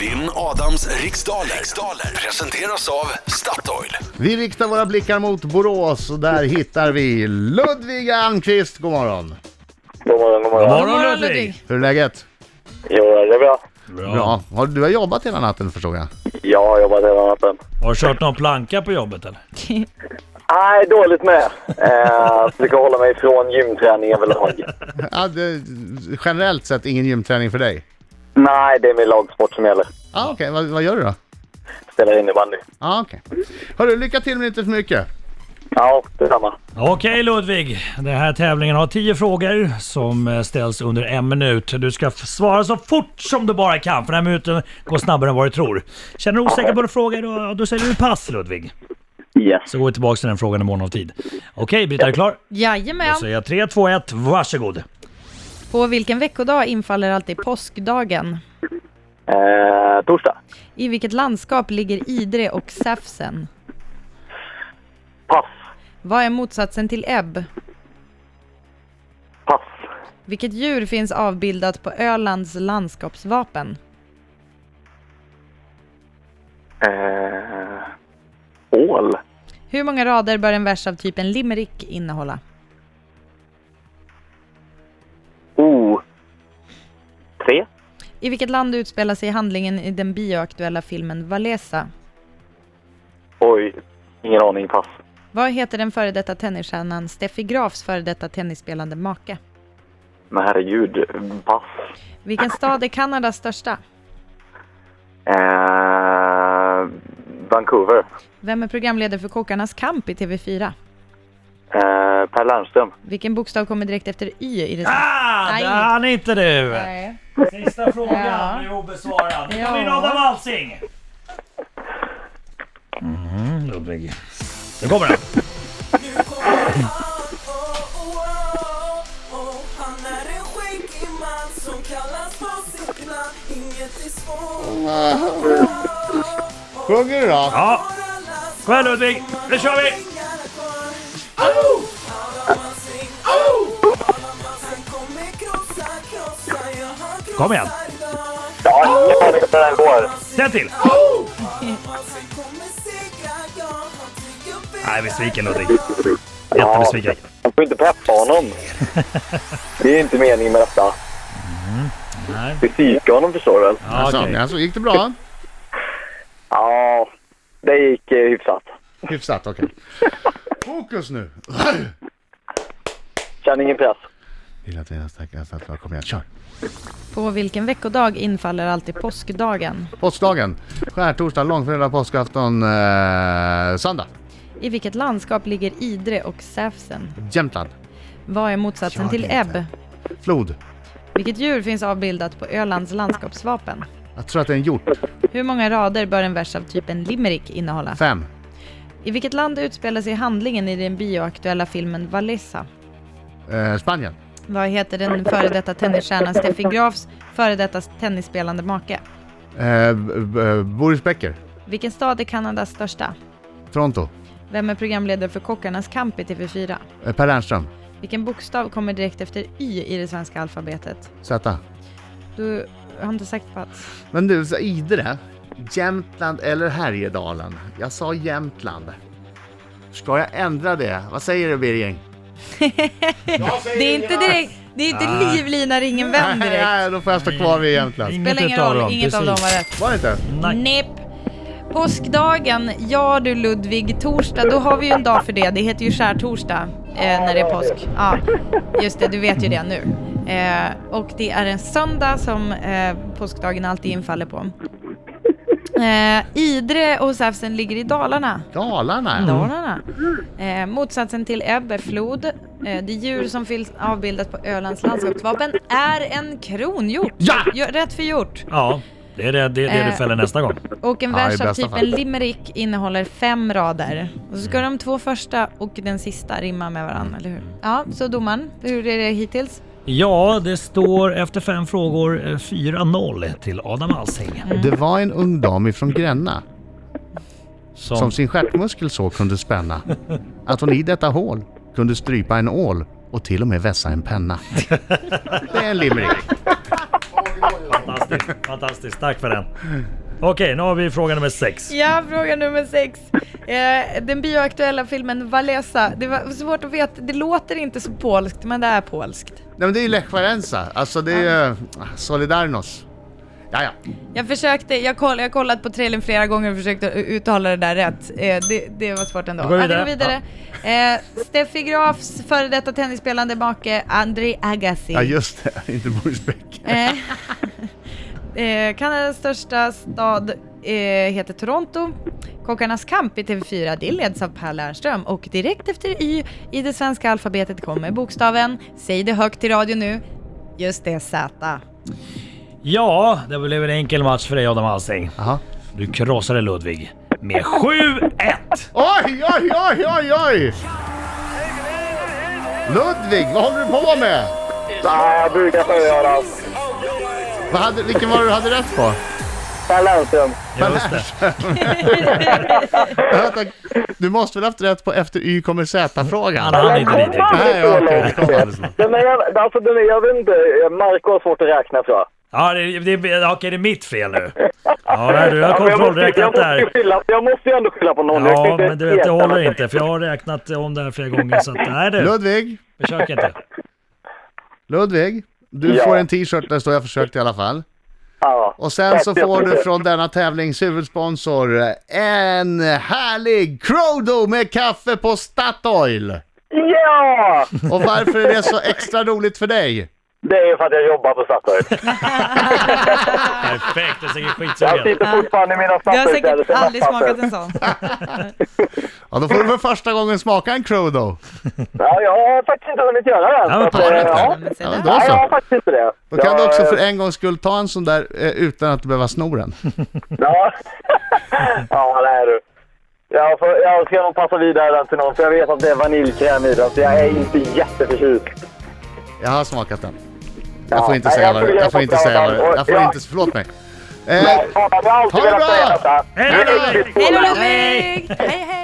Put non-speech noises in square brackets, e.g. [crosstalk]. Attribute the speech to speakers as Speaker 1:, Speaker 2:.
Speaker 1: Vinn Adams riksdaler. riksdaler presenteras av Statoil.
Speaker 2: Vi riktar våra blickar mot Borås och där hittar vi Ludvig Almqvist. God morgon.
Speaker 3: God morgon, god morgon.
Speaker 4: God
Speaker 5: God
Speaker 4: morgon
Speaker 5: morgon,
Speaker 4: Ludvig!
Speaker 5: Ludvig.
Speaker 2: Hur är läget?
Speaker 3: Jo, det är bra.
Speaker 2: Bra. Har, du har jobbat hela natten förstår jag.
Speaker 3: Jag har jobbat hela natten.
Speaker 4: Har du kört någon planka på jobbet eller?
Speaker 3: Nej, dåligt med. [laughs] Eh, försöker hålla mig från gymträning överlag.
Speaker 2: Ja, det, generellt sett ingen gymträning för dig?
Speaker 3: Nej, det är min lagsport som gäller.
Speaker 2: Ah, Okej, vad, vad gör du då?
Speaker 3: Spelar innebandy.
Speaker 2: Ah, Okej. Hörru, lycka till men inte för mycket.
Speaker 3: Ja, detsamma.
Speaker 4: Okej Ludvig, den här tävlingen har 10 frågor som eh, ställs under en minut. Du ska f- svara så fort som du bara kan för den här minuten går snabbare än vad du tror. Känner du osäker på en fråga då, då säger du pass Ludvig.
Speaker 3: Yes.
Speaker 4: Så går vi tillbaka till den frågan imorgon av tid. Okej Britta, är du klar? Då
Speaker 5: Jajamän.
Speaker 4: säger jag 3, 2, 1, varsågod.
Speaker 5: På vilken veckodag infaller alltid påskdagen?
Speaker 3: Eh, torsdag.
Speaker 5: I vilket landskap ligger Idre och Säfsen?
Speaker 3: Pass.
Speaker 5: Vad är motsatsen till ebb?
Speaker 3: Pass.
Speaker 5: Vilket djur finns avbildat på Ölands landskapsvapen?
Speaker 3: Eh, ål.
Speaker 5: Hur många rader bör en vers av typen limerick innehålla?
Speaker 3: O. Tre.
Speaker 5: I vilket land utspelar sig handlingen i den bioaktuella filmen Valesa?
Speaker 3: Oj. Ingen aning. Pass.
Speaker 5: Vad heter den före detta tennisstjärnan Steffi Grafs före detta tennisspelande make?
Speaker 3: Men herregud. Pass.
Speaker 5: Vilken stad är Kanadas största?
Speaker 3: Eh, Vancouver.
Speaker 5: Vem är programledare för Kockarnas kamp i TV4?
Speaker 3: Eh, per Lernström.
Speaker 5: Vilken bokstav kommer direkt efter Y i det
Speaker 4: Ah,
Speaker 5: Nej.
Speaker 4: det hann inte du!
Speaker 5: Nej.
Speaker 4: Sista frågan
Speaker 5: Ja.
Speaker 4: är obesvarad. Nu
Speaker 5: Ja.
Speaker 4: tar vi in Adam Alsing! Mm, Ludvig. Nu kommer den.
Speaker 6: Nu kommer han, oh, oh, oh, oh. Han är en skäggig man som kallas på sitt namn Inget är svårt,
Speaker 2: Sjunger du då?
Speaker 4: Ja.
Speaker 6: har alla
Speaker 4: Kom igen Ludvig, nu kör vi!
Speaker 6: svingar kvar Han kommer krossa, krossa, ja han krossar
Speaker 4: Kom igen.
Speaker 6: dem.
Speaker 3: Ja, ingen aning om hur den går.
Speaker 4: Ställ till!
Speaker 6: Han kommer segra, ja han tycker bättre
Speaker 4: Nej, besviken Ludvig. Jättebesviken.
Speaker 3: Man får inte peppa
Speaker 4: [laughs]
Speaker 3: honom. Det är inte meningen med detta.
Speaker 4: Mm, Nej.
Speaker 3: Det psykar honom förstår du väl?
Speaker 4: Ja,
Speaker 2: Alltså,
Speaker 4: okej.
Speaker 2: alltså, gick det
Speaker 4: [laughs]
Speaker 2: bra?
Speaker 3: Ja, det gick eh, hyfsat.
Speaker 2: Hyfsat, okej. Fokus nu!
Speaker 3: Känner ingen press.
Speaker 2: Vill att dina stackare satt bra. Kom igen, kör!
Speaker 5: På vilken veckodag infaller alltid påskdagen?
Speaker 2: Påskdagen, skärtorsdag, långfredag, påskafton, eh, söndag.
Speaker 5: I vilket landskap ligger Idre och Säfsen?
Speaker 2: Jämtland,
Speaker 5: Vad är motsatsen
Speaker 2: Jag
Speaker 5: till
Speaker 2: vet
Speaker 5: ebb?
Speaker 2: inte. flod.
Speaker 5: Vilket djur finns avbildat på Ölands landskapsvapen?
Speaker 2: Jag tror att det är en hjort.
Speaker 5: Hur många rader bör en vers av typen limerick innehålla?
Speaker 2: Fem.
Speaker 5: I vilket land utspelar sig handlingen i den bioaktuella filmen Valesa?
Speaker 2: Eh, Spanien.
Speaker 5: Vad heter den före detta tennisstjärnan Steffi Grafs före detta tennisspelande make?
Speaker 2: Eh, b- b- Boris Becker.
Speaker 5: Vilken stad är Kanadas största?
Speaker 2: Toronto.
Speaker 5: Vem är programledare för Kockarnas kamp i TV4?
Speaker 2: Eh, per Lernström.
Speaker 5: Vilken bokstav kommer direkt efter Y i det svenska alfabetet?
Speaker 2: Z.
Speaker 5: Du har inte sagt plats.
Speaker 2: Men du, så Idre. Jämtland eller Härjedalen? Jag sa Jämtland. Ska jag ändra det? Vad säger du Birging?
Speaker 5: Det är inte, direkt, det är inte livlina ringen vänd
Speaker 2: Nej,
Speaker 5: direkt.
Speaker 2: nej, då får jag stå kvar vid Jämtland.
Speaker 4: Inget
Speaker 5: Spelar ingen
Speaker 4: utav
Speaker 5: roll,
Speaker 4: dem,
Speaker 5: inget av dem var rätt.
Speaker 2: Var det inte?
Speaker 4: Nej.
Speaker 5: Nipp. Påskdagen, ja du Ludvig, torsdag, då har vi ju en dag för det. Det heter ju skärtorsdag eh, när det är påsk. Ja, just det, du vet ju det nu. Eh, och det är en söndag som eh, påskdagen alltid infaller på. Eh, Idre och Säfsen ligger i Dalarna.
Speaker 2: Dalarna? ja.
Speaker 5: Dalarna. Eh, motsatsen till ebb är flod. Eh, det djur som finns avbildat på Ölands landskapsvapen är en kronhjort.
Speaker 2: Ja!
Speaker 5: Jo, Rätt för hjort.
Speaker 4: Ja, det är det, det, är det du
Speaker 5: Eh.
Speaker 4: fäller nästa gång.
Speaker 5: Och en
Speaker 2: Ja, i
Speaker 5: vers av
Speaker 2: bästa
Speaker 5: typen
Speaker 2: fall. Mm.
Speaker 5: limerick innehåller fem rader. Och så ska de två första och den sista rimma med varandra, eller hur? Ja, så domaren, hur är det hittills?
Speaker 4: Ja, det står efter fem frågor eh, 4-0 till Adam Alsing.
Speaker 5: Mm.
Speaker 2: Det var en ung dam ifrån Gränna som
Speaker 4: Som,
Speaker 2: sin stjärtmuskel så kunde spänna att hon i detta hål kunde strypa en ål och till och med vässa en penna. Det är en limerick.
Speaker 4: Fantastiskt, fantastiskt. Tack för den. Okej, nu har vi fråga nummer sex.
Speaker 5: Ja, fråga nummer sex. Eh, den bioaktuella filmen Valesa. Det var svårt att veta, det låter inte så polskt, men det är polskt.
Speaker 2: Nej men det är ju Lech Walesa, alltså det är ju Solidarnos. Ja, ja.
Speaker 5: Jag försökte, jag, koll, jag har kollat på trailern flera gånger och försökt att uttala det där rätt. Eh, det, det var svårt ändå.
Speaker 4: Vi går
Speaker 5: Ja, vi
Speaker 4: vidare.
Speaker 5: går vidare. Eh, Steffi Grafs före detta tennisspelande make Andrei Agassi.
Speaker 2: ja just det, [laughs] inte Boris Becker.
Speaker 5: Eh, eh, Kanadas största stad eh, heter Toronto. Kockarnas kamp i TV4, det leds av Per Lernström och direkt efter Y i det svenska alfabetet kommer bokstaven, säg det högt i radio nu, just det Z.
Speaker 4: Ja, det blev en enkel match för dig Adam Alsing.
Speaker 2: Jaha.
Speaker 4: Du krossade Ludvig med 7-1.
Speaker 2: Oj, oj, oj, oj, oj! Ludvig, vad håller du på med?
Speaker 3: Nej, jag brukar inte göra.
Speaker 2: Vad hade, vilken var det du hade rätt på?
Speaker 3: Per Lernström.
Speaker 4: Just det.
Speaker 2: Vänta, Du måste väl haft rätt på efter Y kommer
Speaker 4: Han
Speaker 2: Z-frågan?
Speaker 4: hann inte dit riktigt.
Speaker 2: Nej, okej, det kom aldrig så långt.
Speaker 3: Den är, jävla- alltså, den är, jag vet inte. Marco har svårt att räkna tror jag.
Speaker 4: Ja, det, det, det, okej, det är mitt fel
Speaker 3: [laughs]
Speaker 4: nu. Ja, nej, du har
Speaker 3: Ja, men jag, måste, jag,
Speaker 4: kontrollräknat
Speaker 3: måste ju
Speaker 4: där.
Speaker 3: skylla, jag måste ju ändå skylla på någon. Jag kan
Speaker 4: Ja,
Speaker 3: inte
Speaker 4: men du vet, det
Speaker 3: erkänna
Speaker 4: håller
Speaker 3: att-
Speaker 4: inte för jag har räknat om det här flera gånger så att, nej du,
Speaker 2: Ludvig,
Speaker 4: försök inte.
Speaker 2: Ludvig. Du
Speaker 3: Ja.
Speaker 2: får en t-shirt där det står jag försökte i alla fall.
Speaker 3: Ja.
Speaker 2: Och sen
Speaker 3: Tack
Speaker 2: så får du
Speaker 3: jättemycket.
Speaker 2: från denna tävlings huvudsponsor eh, en härlig Crodo med kaffe på Statoil.
Speaker 3: Ja!
Speaker 2: Och varför är det så extra roligt för dig?
Speaker 3: Det är ju för att jag jobbar på
Speaker 4: [laughs]
Speaker 3: Statoil.
Speaker 4: Perfekt, jag är säkert
Speaker 3: Jag
Speaker 4: skitsugen.
Speaker 3: sitter fortfarande i mina
Speaker 5: Du har
Speaker 3: Statoil-kläder.
Speaker 5: säkert
Speaker 3: så jag
Speaker 5: aldrig
Speaker 3: fattar.
Speaker 5: smakat en sån.
Speaker 2: Ja, då får du för första gången smaka en Crodo.
Speaker 3: Ja, jag har faktiskt inte hunnit göra det. än,
Speaker 4: Ja, men
Speaker 3: så att, eh,
Speaker 4: fan, vänta.
Speaker 3: ja.
Speaker 5: Men se
Speaker 2: Ja,
Speaker 5: där.
Speaker 2: men då
Speaker 3: Nej, jag har
Speaker 2: så.
Speaker 3: faktiskt inte det.
Speaker 2: Då kan du också
Speaker 3: Jag- eh,
Speaker 2: för en gångs skull ta en sån där eh, utan att behöva sno den.
Speaker 3: Ja, [laughs] ja det är du. Jag, får, jag ska nog passa vidare den till någon, för jag vet att det är vaniljkräm i den, så jag är inte jätteförtjust.
Speaker 2: Jag har smakat den. Jag
Speaker 3: Ja,
Speaker 2: får inte
Speaker 3: nej,
Speaker 2: säga
Speaker 3: jag
Speaker 2: vad det
Speaker 3: skulle
Speaker 2: Jag får
Speaker 3: göra
Speaker 2: inte
Speaker 3: på
Speaker 2: säga vad
Speaker 3: fredag.
Speaker 2: det Jag får
Speaker 3: Ja.
Speaker 2: inte... Förlåt mig. Eh,
Speaker 3: Nej, fan, jag har alltid
Speaker 2: Ha det
Speaker 3: velat
Speaker 2: bra!
Speaker 3: säga detta.
Speaker 4: Hej
Speaker 3: Du
Speaker 4: då,
Speaker 3: är
Speaker 4: Ludvig!
Speaker 3: riktigt
Speaker 5: Hej då
Speaker 3: dålig.
Speaker 5: Ludvig! Hej hej!